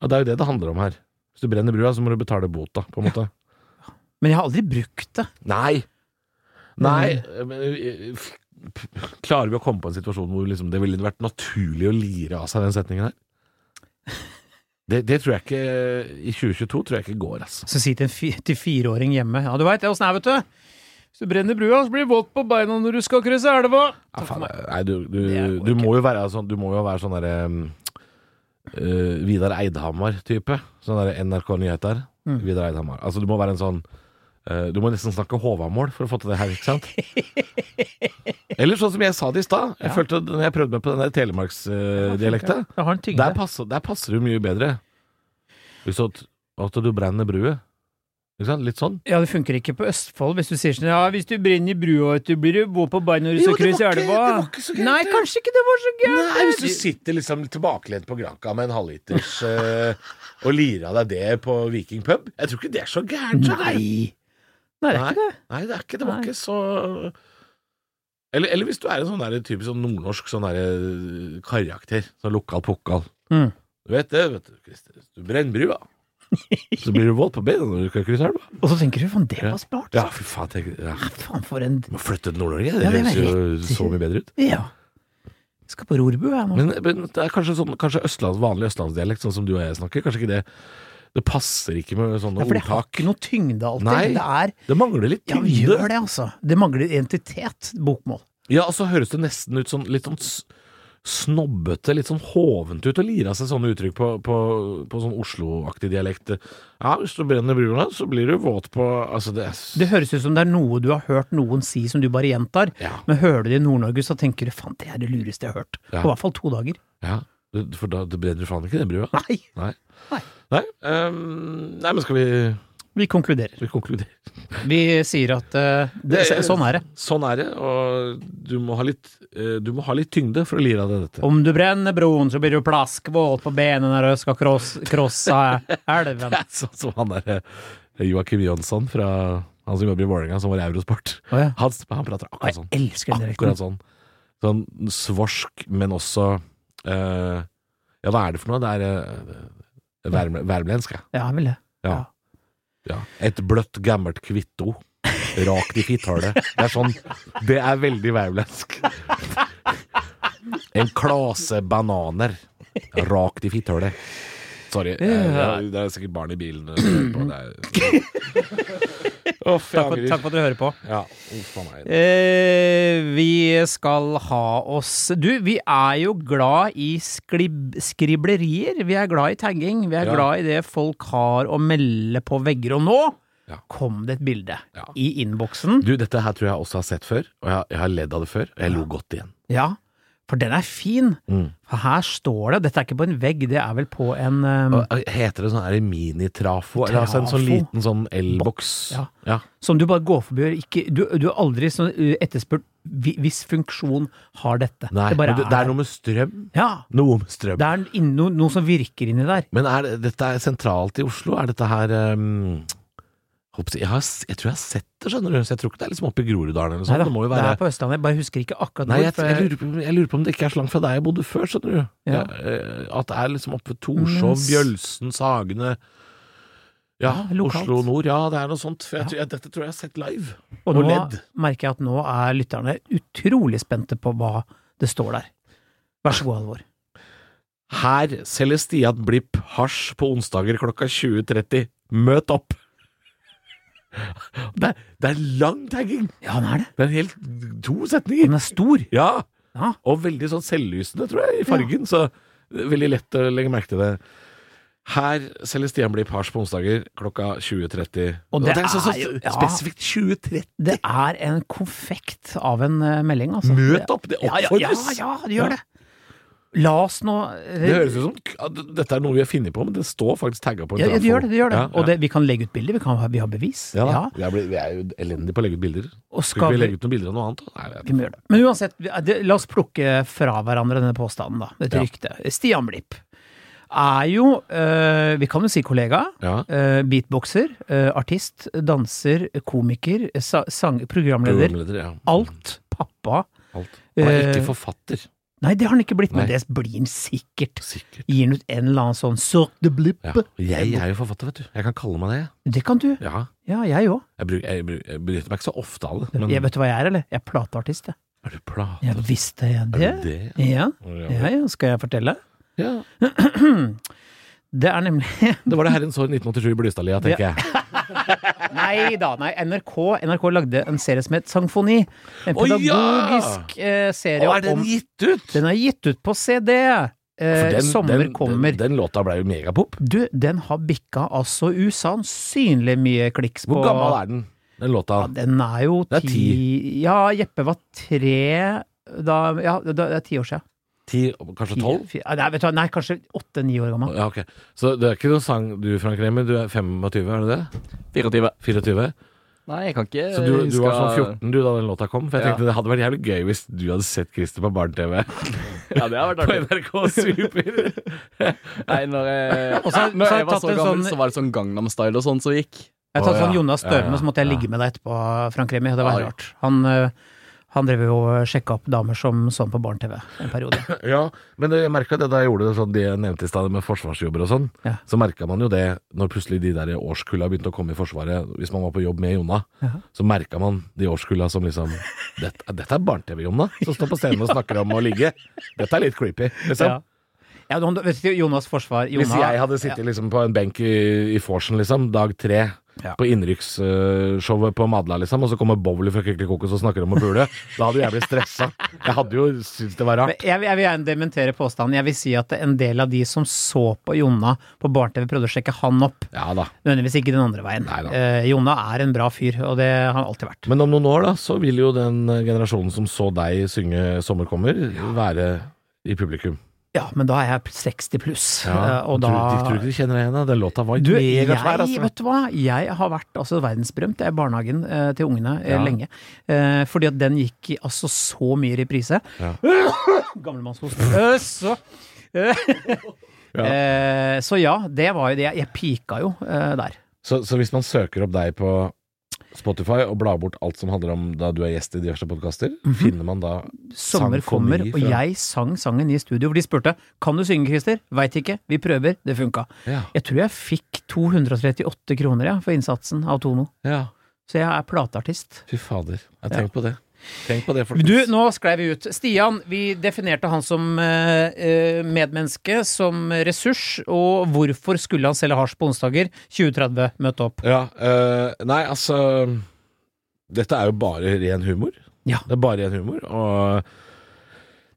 S3: Og det er jo det det handler om her. Hvis du brenner brua, så må du betale bota, på en måte.
S2: Men jeg har aldri brukt det.
S3: Nei. Nei. men, eh, f- Klarer vi å komme på en situasjon hvor liksom, det ville vært naturlig å lire av seg den setningen her? Det, det tror jeg ikke I 2022 tror jeg ikke går, altså.
S2: Så si til en fi- til fireåring hjemme Ja, du veit åssen det er, vet du. Hvis du brenner brua, så blir du våt på beina når du skal krysse elva.
S3: Ja, faen, nei, du, du,
S2: Det går
S3: du må jo være sånn Du må jo være sånn derre eh, Vidar Eidhammer-type. Sånn der NRK Nyheter.
S2: Mm.
S3: Vidar Eidhammer. Altså, du må være en sånn eh, Du må nesten snakke Håvamål for å få til det her, ikke
S2: *laughs*
S3: sant? Eller sånn som jeg sa det i stad. Jeg
S2: Ja.
S3: følte når jeg prøvde meg på den der telemarksdialekta.
S2: Det har en tyngde.
S3: der, passer, der passer du mye bedre. Hvis at, at du brenner brue. Ikke sant? Litt sånn.
S2: Ja, det funker ikke på Østfold hvis du sier sånn Ja, hvis du brenner i brua, vet du blir du bo på Beinarus og kryss i elva.
S3: så
S2: Nei, kanskje ikke det var så gærent.
S3: Nei, hvis du sitter liksom tilbakelent på Granka med en halvliters eh, og lirer av deg det på Viking pub Jeg tror ikke det er så gærent. skjønner du.
S2: Nei. Nei, det er ikke det.
S3: Nei, det er ikke det. var
S2: Nei.
S3: ikke så eller, eller hvis du er en sånn der, typisk sånn nordnorsk sånn der, karakter. Sånn lokal pukkal.
S2: Mm.
S3: Du vet det, vet du, Christer. Hvis Du brenner brua. Så blir du våt på beina når du skal krysse elva.
S2: Og så tenker du faen, det
S3: Ja.
S2: var smart. altså.
S3: Ja, fy faen. Tenk, ja.
S2: Faen, for en
S3: Du må flytte til Nord-Norge.
S2: Ja,
S3: Det
S2: det var
S3: høres jo
S2: helt-
S3: så mye bedre ut.
S2: Ja. Jeg skal på Rorbu, jeg nå.
S3: Men, men det er kanskje, sånn, kanskje østlands, vanlig østlandsdialekt, sånn som du og jeg snakker. Kanskje ikke det Det passer ikke med sånne
S2: Ja, for det har
S3: ordtak.
S2: ikke noe tyngde alltid.
S3: Nei.
S2: Det er
S3: Det mangler litt
S2: Ja, vi gjør
S3: tyngde.
S2: det, altså. Det mangler identitet, bokmål.
S3: Ja, og så høres det nesten ut sånn litt sånn s- snobbete, litt sånn hovent ut å lire av seg sånne uttrykk på, på, på sånn Oslo-aktig dialekt. Ja, hvis du brenner brua, så blir du våt på Altså, det er s-
S2: Det høres ut som det er noe du har hørt noen si som du bare gjentar.
S3: Ja.
S2: Men hører du det i Nord-Norge, så tenker du faen, det er det lureste jeg har hørt.
S3: Ja.
S2: På hvert fall to dager.
S3: ja. Du- For da det brenner du faen ikke den brua.
S2: Nei,
S3: Nei.
S2: Nei.
S3: Nei, ehm, nei men skal vi,
S2: vi konkluderer.
S3: skal vi konkludere?
S2: Vi sier at eh, det,
S3: Det-
S2: sånn er det.
S3: Sånn er det, og du må ha litt, eh, du må ha litt tyngde for å lire av deg dette.
S2: Om du brenner broen, så blir du plaskvåt på bena når du skal cross, crosse
S3: *laughs*
S2: elven.
S3: Det er *laughs* Sånn som han der eh, Joakim Jonsson fra han som jobber i Vålerenga, som var i Eurosport.
S2: Å ja.
S3: Han, han prater akkurat
S2: Jeg
S3: sånn.
S2: elsker den dialekten.
S3: Akkurat sånn. Sånn svorsk, men også eh, Ja, hva er det for noe? Det er eh, værm- værmlensk, ja.
S2: Ja, jeg vil det.
S3: ja. ja. Et bløtt, gammelt kvitto. Rakt i fitthullet. Det er sånn Det er veldig værmlensk. En klase bananer rakt i fitthullet. Sorry. eh,
S2: Ja.
S3: Det er sikkert barn i bilen. eh, som hører på. Det er- Uff, jeg
S2: Takk for,
S3: angrer.
S2: takk for at dere hører på.
S3: Ja, uff a meg.
S2: Eh, vi skal ha oss Du, vi er jo glad i skrib skriblerier. Vi er glad i tagging. Vi er
S3: Ja.
S2: glad i det folk har å melde på vegger. Og nå
S3: Ja.
S2: kom det et bilde
S3: Ja.
S2: i innboksen.
S3: Du, dette her tror jeg også har sett før, og jeg, har- jeg har ledd av det før, og jeg lo godt igjen.
S2: Ja, for den er fin.
S3: Mm.
S2: For her står det Dette er ikke på en vegg, det er vel på en eh,
S3: Og, eh, Heter det sånn, er det minitrafo? Eller altså en sånn
S2: Trafo.
S3: liten sånn elboks?
S2: Ja.
S3: ja.
S2: Som du bare går forbi. og Ikke, du, du har aldri så, eh, etterspurt hvi- hvis funksjon har dette.
S3: Nei,
S2: det bare
S3: men det, det er
S2: der.
S3: noe med strøm.
S2: Ja.
S3: Noe med strøm.
S2: Det er inn- no, noe som virker inni der.
S3: Men er det, dette er sentralt i Oslo? Er dette her ehm, håper jeg, jeg, har, s- jeg tror jeg har sett det, skjønner du. Så jeg tror ikke det er liksom oppe i Groruddalen eller noe sånt.
S2: Neida,
S3: Det må jo være
S2: det er på Østlandet, jeg bare husker ikke akkurat
S3: Nei,
S2: hvor.
S3: jeg,
S2: for
S3: jeg, lurer på, jeg lurer på om det ikke er så langt fra der jeg bodde før, skjønner du.
S2: Ja.
S3: Jeg, eh, at det er liksom oppe ved Torshov,
S2: Men s-
S3: Bjølsen, Sagene Ja,
S2: Ja, lokalt.
S3: Oslo nord. Ja, det er noe sånt. For jeg, tror- jeg, dette tror jeg jeg har sett live.
S2: og nå
S3: og ledd.
S2: merker jeg at nå er lytterne utrolig spente på hva det står der. Vær så god, Halvor.
S3: Her selger Stian Blipp hasj på onsdager klokka 20.30. Møt opp! *laughs* Det, er- det er lang tagging!
S2: Ja, den er det.
S3: Det er helt to
S2: Den
S3: setninger.
S2: er stor.
S3: Ja,
S2: Ja.
S3: og veldig sånn selvlysende, tror jeg, i fargen. Så veldig lett å legge merke til det. Her selger Stian Blipp hasj på onsdager klokka 20.30.
S2: Og det
S3: så, så
S2: er jo- ja.
S3: spesifikt 20.30!
S2: Det er en konfekt av en eh, melding, altså.
S3: Møt opp! Det
S2: Ja, ja, ja,
S3: oppfordres!
S2: ja, det gjør det. La oss nå eh,
S3: Det høres ut som at dette er noe vi har funnet på, men det står faktisk tagga på en
S2: ja, ja, det gjør det, det gjør det.
S3: Ja,
S2: Og
S3: ja.
S2: det, vi kan legge ut bilder, vi, kan, ha- vi har bevis.
S3: Ja, da.
S2: Ja.
S3: Jeg blir- Vi er jo elendige på å legge ut bilder.
S2: Og
S3: Skal
S2: skal
S3: vi
S2: vi,
S3: legge ut noen bilder av noe annet? da? Nei, jeg vet
S2: vi må gjøre det. Men uansett, vi- eh, det, la oss plukke fra hverandre denne påstanden, da. Dette
S3: Ja.
S2: ryktet. Stian Blipp er jo, eh, vi kan jo si kollega,
S3: ikke. ja.
S2: eh, beatboxer, eh, artist, danser, komiker, sa sang, programleder.
S3: Programleder, ja.
S2: Alt pappa.
S3: Alt. Han er
S2: Eh,
S3: ikke forfatter,
S2: Nei, det har han ikke blitt, men
S3: Nei.
S2: det blir han sikkert.
S3: sikkert.
S2: Gir han ut en eller annen sånn Sort de blipp.
S3: Ja. Og Jeg er jo forfatter, vet du. Jeg kan kalle meg det. jeg.
S2: Det kan du.
S3: Ja.
S2: Ja, jeg òg.
S3: Jeg, bruk, jeg, bru- jeg benytter meg ikke så ofte av det, men
S2: Jeg vet du hva jeg er, eller? Jeg er plateartist, jeg.
S3: er du plate?
S2: Ja, visste jeg det?
S3: Er du det?
S2: Ja,
S3: Ja.
S2: ja, ja, skal jeg fortelle?
S3: ja.
S2: Det er nemlig *laughs*
S3: Det var det herrens år 1987 i Blystadlia, tenker jeg.
S2: Nei da, nei. NRK, NRK lagde en serie som het Sangfoni. En
S3: Å, ja!
S2: pedagogisk eh, serie
S3: Og er den
S2: om
S3: gitt ut?
S2: Den er gitt ut på CD! eh, sommer kommer.
S3: Den, den låta ble jo megapop.
S2: Du, den har bikka altså usannsynlig mye kliks på
S3: Hvor gammel er den, den låta?
S2: Ja, den er jo
S3: Det er
S2: ti Ja, Jeppe var tre da Ja, da, det er ti år siden.
S3: Ti, kanskje
S2: Ti-
S3: tolv?
S2: fi- Nei, vet du, hva, nei, kanskje åtte-ni år gammel.
S3: Ja, ok. Så det er ikke noen sang du, Frank Remi, du er 25, er du det?
S4: 24.
S3: 24?
S4: Nei, jeg kan ikke
S3: Så du, du
S4: huske-
S3: var sånn 14 du da den låta kom? For jeg
S4: Eh, Ja.
S3: tenkte det hadde vært jævlig gøy hvis du hadde sett Christer på barne-TV
S4: Ja, det har vært
S3: *laughs* på
S4: artig.
S3: NRK Super.
S4: Nei, når
S3: *laughs*
S4: jeg,
S2: Og så har- så
S4: når
S2: har
S4: jeg
S2: jeg
S4: var
S2: tatt
S4: så
S2: en
S4: gammel,
S2: sånn-
S4: så var det sånn Gangnam Style og sånn som gikk.
S2: Jeg tatt
S3: Å, ja.
S2: sånn Jonas
S3: Ja, ja,
S2: Døvene, så måtte jeg
S3: ja.
S2: ligge med deg etterpå, Frank Remi. Det var
S4: Ja.
S2: rart. Han, eh, han drev jo og sjekka opp damer som sånn på barne-TV en periode.
S3: *laughs* Ja, men jeg merka det da jeg gjorde det sånn de jeg nevnte i stad med forsvarsjobber og sånn.
S2: Ja.
S3: Så merka man jo det når plutselig de der årskulla begynte å komme i Forsvaret. Hvis man var på jobb med Jonna, så merka man de årskulla som liksom Dette, dette er barne-TV-Jonna som står på scenen og snakker om å ligge. Dette er litt creepy, liksom.
S2: Ja. Ja, du- vet du, Jonas Forsvar
S3: Hvis
S2: Jonna-
S3: jeg hadde sittet liksom på en benk i, i Forsen, liksom, dag tre,
S2: Ja.
S3: på innrykksshowet på Madla, liksom, og så kommer Bowley fra Kykelikokos og snakker om å pule, da hadde jo jeg blitt stressa. Jeg hadde jo syntes det var
S2: Men
S3: rart.
S2: Jeg, vil- jeg vil gjerne dementere påstanden. Jeg vil si at en del av de som så på Jonna på barne-TV, prøvde å sjekke han opp.
S3: Ja da.
S2: Nødvendigvis ikke den andre veien.
S3: Nei da.
S2: Eh, Jonna er en bra fyr, og det har han alltid vært.
S3: Men om noen år da, så vil jo den eh, generasjonen som så deg synge 'Sommer kommer', være i publikum.
S2: Ja, men da er jeg 60 pluss, eh, og
S3: du,
S2: da
S3: tror du ikke du kjenner deg igjen? da? Den låta var
S2: Du, jeg,
S3: megasvær, altså.
S2: vet du hva? Jeg har vært altså, verdensberømt jeg er barnehagen eh, til ungene eh,
S3: Ja.
S2: lenge. Eh, fordi at den gikk i altså så mye reprise. *coughs*
S3: Ja.
S2: Gamlemannshost. Eh, så
S3: *laughs* Ja.
S2: Eh, Så ja, det var jo det. Jeg- Jeg pika jo eh, der.
S3: Så, så hvis man søker opp deg på Spotify og blar bort alt som handler om da du er gjest i diverse podkaster,
S2: Mhm.
S3: finner man da
S2: Sommer
S3: Sang kommer
S2: kommer,
S3: i
S2: og
S3: fra-
S2: jeg sang sangen i studio. Hvor de spurte kan du synge, Christer. Veit ikke. Vi prøver. Det funka.
S3: Ja.
S2: Jeg tror jeg fikk 238 kroner ja, for innsatsen av Tono.
S3: ja.
S2: Så jeg er plateartist.
S3: Fy fader. Jeg tenk på det. Tenk på det,
S2: Du,
S3: folkens.
S2: nå sklei vi ut. Stian, vi definerte han som eh, eh, medmenneske, som ressurs, og hvorfor skulle han selge hasj på onsdager? 2030, møte opp.
S3: Ja, eh, nei, altså Dette er jo bare ren humor.
S2: Ja.
S3: Det er bare ren humor, og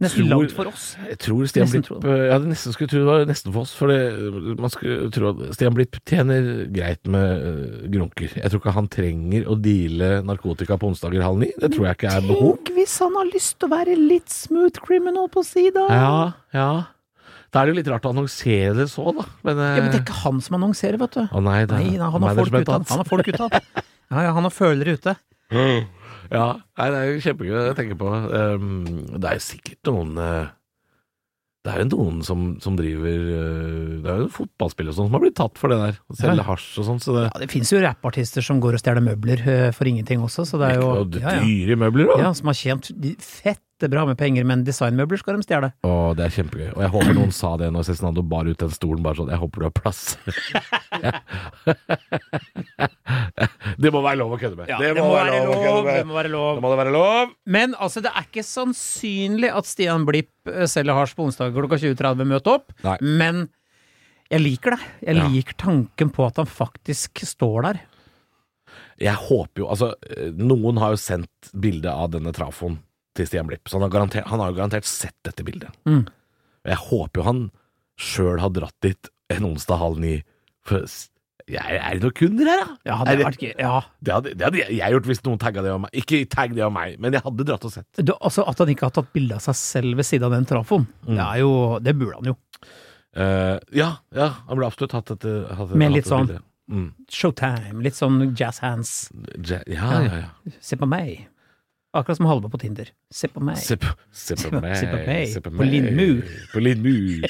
S2: Nesten
S3: Tror-
S2: langt for oss.
S3: Jeg tror Stian
S2: Nesten
S3: Blipp
S2: tro
S3: Jeg hadde nesten skulle tro det var nesten for oss, for det, man skulle tro at Stian Blipp tjener greit med øh, grunker. Jeg tror ikke han trenger å deale narkotika på onsdager halv ni. Det tror jeg ikke er behov.
S2: Tenk hvis han har lyst til å være litt smooth criminal på sida!
S3: Ja, ja. Da er det jo litt rart å annonsere det så, da. Men, øh,
S2: Ja, men det er ikke han som annonserer, vet du.
S3: Å nei, det er
S2: Nei, nei han har folk
S3: management
S2: ute. Han
S3: hans.
S2: har folk ute, han.
S3: *laughs*
S2: Ja, ja, han har følere ute.
S3: Ja, nei, det er jo kjempegøy å tenke på. Ehm, det er jo sikkert noen eh, Det er jo noen som, som driver eh, Det er jo fotballspillere og sånn som har blitt tatt for det der. Å
S2: Ja.
S3: Selge hasj og sånn. Så det
S2: Ja, det fins jo rappartister som går og stjeler møbler eh, for ingenting også, så det er jo
S3: Og
S2: ja, ja.
S3: dyre møbler òg.
S2: ja, som har tjent de- fette bra med penger, men designmøbler skal de stjele.
S3: Og det er kjempegøy. Og jeg håper noen sa det når Cezinando bar ut den stolen, bare sånn Jeg håper du har plass. *laughs* det må være lov å kødde med.
S2: det må være lov.
S3: Det må det være lov.
S2: Men altså, det er ikke sannsynlig at Stian Blipp eh, selger hasj på onsdag klokka 20.30. Møt opp.
S3: Nei.
S2: Men jeg liker det. Jeg
S3: Ja.
S2: liker tanken på at han faktisk står der.
S3: Jeg håper jo Altså, eh, noen har jo sendt bilde av denne trafoen til Stian Blipp, så han har, garantert, han har jo garantert sett dette bildet.
S2: Mm.
S3: Jeg håper jo han sjøl har dratt dit en onsdag halv ni. For s- jeg, er det noen kunder her, da?
S2: Ja, det
S3: Er det-
S2: hadde vært gøy. Ja.
S3: Det hadde, det hadde jeg- jeg gjort hvis noen tagga det om meg. Ikke tagg det om meg, men jeg hadde dratt og sett.
S2: Du, altså, at han ikke har tatt bilde av seg selv ved siden av den trafoen,
S3: Mm.
S2: det er jo Det burde han jo.
S3: Eh, ja, ja, han burde absolutt hatt et hatt, et-
S2: Med litt
S3: hatt
S2: sånn-
S3: et bilde. Mm.
S2: Showtime. Litt sånn jazz hands.
S3: Ja, ja, ja. ja.
S2: Se på meg. Akkurat som Halvor på Tinder. Se på meg.
S3: Se, på- se på meg,
S2: Se på meg.
S3: se på
S2: På
S3: meg.
S2: Lindmur.
S3: På Lindmur.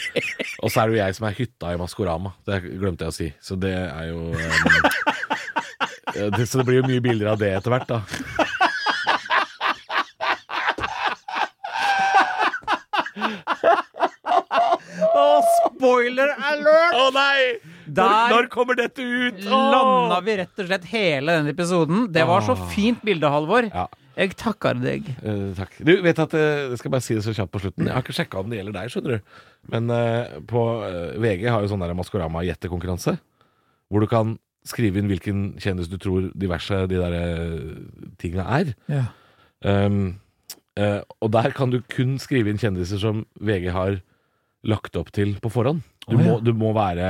S3: Og så er det jo jeg som er hytta i Maskorama. Det glemte jeg å si. Så det er jo eh, eh, *laughs* det, Så det blir jo mye bilder av det etter hvert, da.
S2: spoiler alert!
S3: Å nei!
S2: Der- Når
S3: kommer dette ut?
S2: Landa vi rett og slett hele denne episoden. Det var så fint bilde, Halvor.
S3: Ja.
S2: Jeg takker deg.
S3: Eh, takk. Du, vet at, eh, jeg skal bare si det så kjapt på slutten. Jeg har ikke sjekka om det gjelder deg, skjønner du. Men eh, på eh, VG har jo sånn der Maskorama-gjettekonkurranse. Hvor du kan skrive inn hvilken kjendis du tror diverse de der eh, tinga er. Ehm,
S2: Ja.
S3: Um, eh, og der kan du kun skrive inn kjendiser som VG har lagt opp til på forhånd. Du,
S2: Å, ja.
S3: må, du må være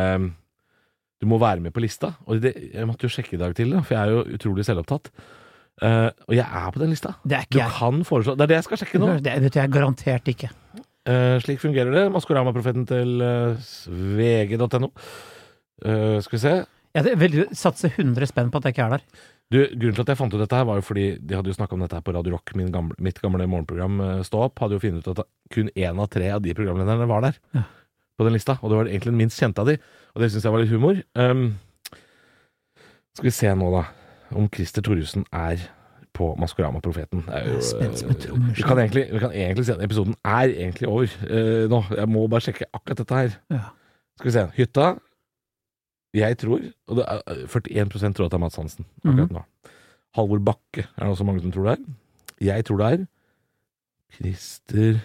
S3: Du må være med på lista. Og det, jeg måtte jo sjekke i dag til, da, for jeg er jo utrolig selvopptatt. Eh, og jeg er på den lista.
S2: Det er
S3: Du
S2: ikke jeg.
S3: kan foreslå Det er det jeg skal sjekke nå.
S2: Det vet jeg garantert ikke.
S3: Eh, slik fungerer det. Maskorama-profeten til eh, vg.no. Eh, skal vi se.
S2: Jeg vil satse 100 spenn på at jeg ikke er der.
S3: Du, grunnen til at jeg fant ut dette her, var jo fordi de hadde jo snakka om dette her på Radio Rock, min gamle, mitt gamle morgenprogram eh, Stå opp. Hadde jo funnet ut at kun én av tre av de programlederne var der
S2: Ja.
S3: på den lista. Og det var egentlig den minst kjente av de, og det syns jeg var litt humor. Ehm, skal vi se nå, da, om Christer Thoresen er på Maskorama-profeten. Det er jo,
S2: Jeg er spent som en
S3: eh,
S2: trommeslager.
S3: vi kan egentlig, vi kan egentlig si at episoden er egentlig over eh, nå. Jeg må bare sjekke akkurat dette her.
S2: Ja.
S3: Skal vi se. Hytta. Jeg tror Og det er 41 tror at det er Mads Hansen akkurat
S2: Mhm.
S3: nå. Halvor Bakke er det også mange som tror det er. Jeg tror det er Christer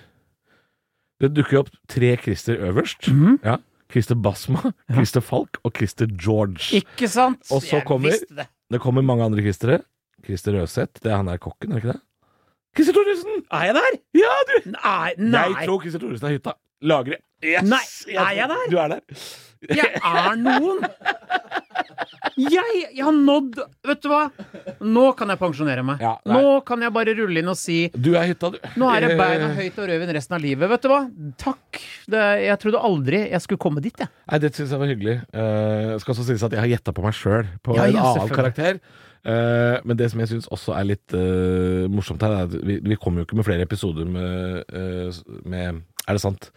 S3: Det dukker jo opp tre Christer øverst.
S2: Mhm.
S3: Ja. Christer Basma, Christer Falk og Christer George.
S2: Ikke sant?
S3: Og så
S2: Jeg
S3: kommer-
S2: visste det.
S3: Det kommer mange andre Christere. Christer Røseth, det er han der kokken, er det ikke det? Christer Thoresen!
S2: Er jeg der?
S3: Ja, du!
S2: Nei!
S3: Jeg
S2: nei.
S3: tror Christer Thoresen er hytta. Lagre. Yes!
S2: Nei,
S3: tror-
S2: er jeg der?
S3: Du er der.
S2: Jeg er noen! Jeg, jeg har nådd Vet du hva? Nå kan jeg pensjonere meg.
S3: Ja, nei.
S2: Nå kan jeg bare rulle inn og si
S3: Du er hytta, du.
S2: Nå er det beina
S3: Eh,
S2: høyt og rødvin resten av livet. Vet du hva? Takk. Det, jeg trodde aldri jeg skulle komme dit, jeg.
S3: Nei, det syns jeg var hyggelig. Eh, skal også sies at jeg har gjetta på meg sjøl, på
S2: Ja,
S3: en
S2: ja,
S3: annen karakter. Eh, men det som jeg syns også er litt eh, morsomt her, er at vi, vi kommer jo ikke med flere episoder med, eh, med Er det sant?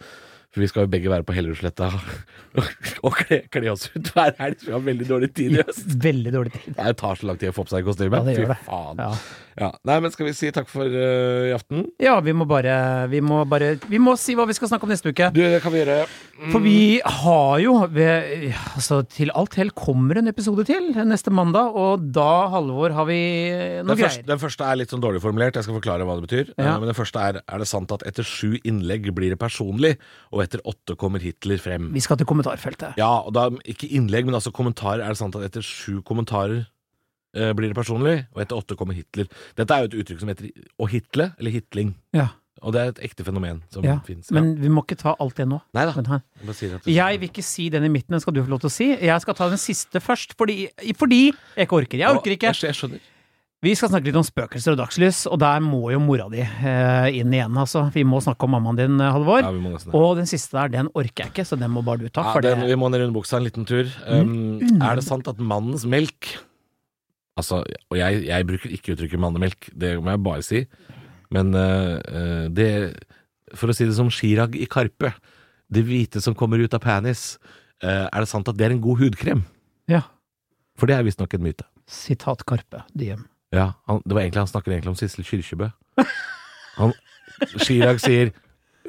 S3: For vi skal jo begge være på Hellerudsletta *laughs* og, og kle, kle oss ut hver helg, så vi har veldig dårlig tid i høst.
S2: Veldig dårlig tid.
S3: Det tar så lang tid å få på seg kostyme.
S2: Ja, det gjør det.
S3: Fy faen.
S2: Ja.
S3: Ja. Nei, men skal vi si takk for eh, i aften?
S2: ja, vi må bare Vi må bare Vi må si hva vi skal snakke om neste uke.
S3: Du, det kan vi gjøre.
S2: For vi har jo ved, altså, Til alt hell kommer en episode til neste mandag, og da, Halvor, har vi noe
S3: Den første,
S2: greier.
S3: den første er litt sånn dårlig formulert, jeg skal forklare hva det betyr.
S2: Ja.
S3: Eh, Men den første er er det sant at etter sju innlegg blir det personlig, og etter åtte kommer Hitler frem?
S2: Vi skal til kommentarfeltet.
S3: Ja, og da ikke innlegg, men altså kommentarer. Er det sant at etter sju kommentarer eh, blir det personlig, og etter åtte kommer Hitler? Dette er jo et uttrykk som heter å hitle, eller hitling.
S2: Ja,
S3: Og det er et ekte fenomen som
S2: ja.
S3: finnes.
S2: Men vi må ikke ta alt det nå.
S3: Nei da.
S2: Men her-
S3: Jeg bare sier at det-
S2: Jeg vil ikke si den i midten, den skal du få lov til å si. Jeg skal ta den siste først, fordi, fordi jeg ikke orker. Jeg orker ikke.
S3: Jeg, skj- jeg skjønner.
S2: Vi skal snakke litt om spøkelser og dagslys, og der må jo mora di eh, inn igjen, altså. Vi må snakke om mammaen din, eh, Halvor.
S3: Ja, vi må nesten det.
S2: Og den siste der, den orker jeg ikke, så den må bare du ta.
S3: Ja,
S2: for det, Mm.
S3: den, vi må ned under buksa en liten tur. Um, er det sant at mannens melk Altså, og jeg, jeg bruker ikke uttrykket mannemelk, det må jeg bare si. Men eh, eh, det For å si det som Chirag i Karpe. Det hvite som kommer ut av penis. eh, er det sant at det er en god hudkrem?
S2: Ja.
S3: For det er visstnok en myte.
S2: Sitat Karpe Diem.
S3: Ja, han, det var egentlig, han snakker egentlig om Sissel Kyrkjebø. Han, Chirag sier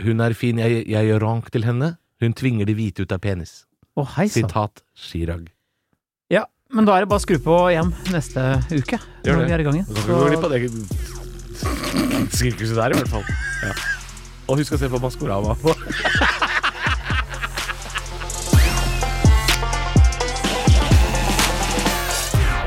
S3: 'Hun er fin, jeg, jeg gjør rank til henne'. Hun tvinger det hvite ut av penis.
S2: Å, hei sann.
S3: Sitat Chirag.
S2: Ja, men da er det bare å skru på igjen neste uke.
S3: Gjør
S2: når
S3: det.
S2: vi er i gang
S3: Du kan ikke gå glipp
S2: igjen.
S3: av det sirkuset der, i hvert fall. Ja. Og husk å se på Maskorama. på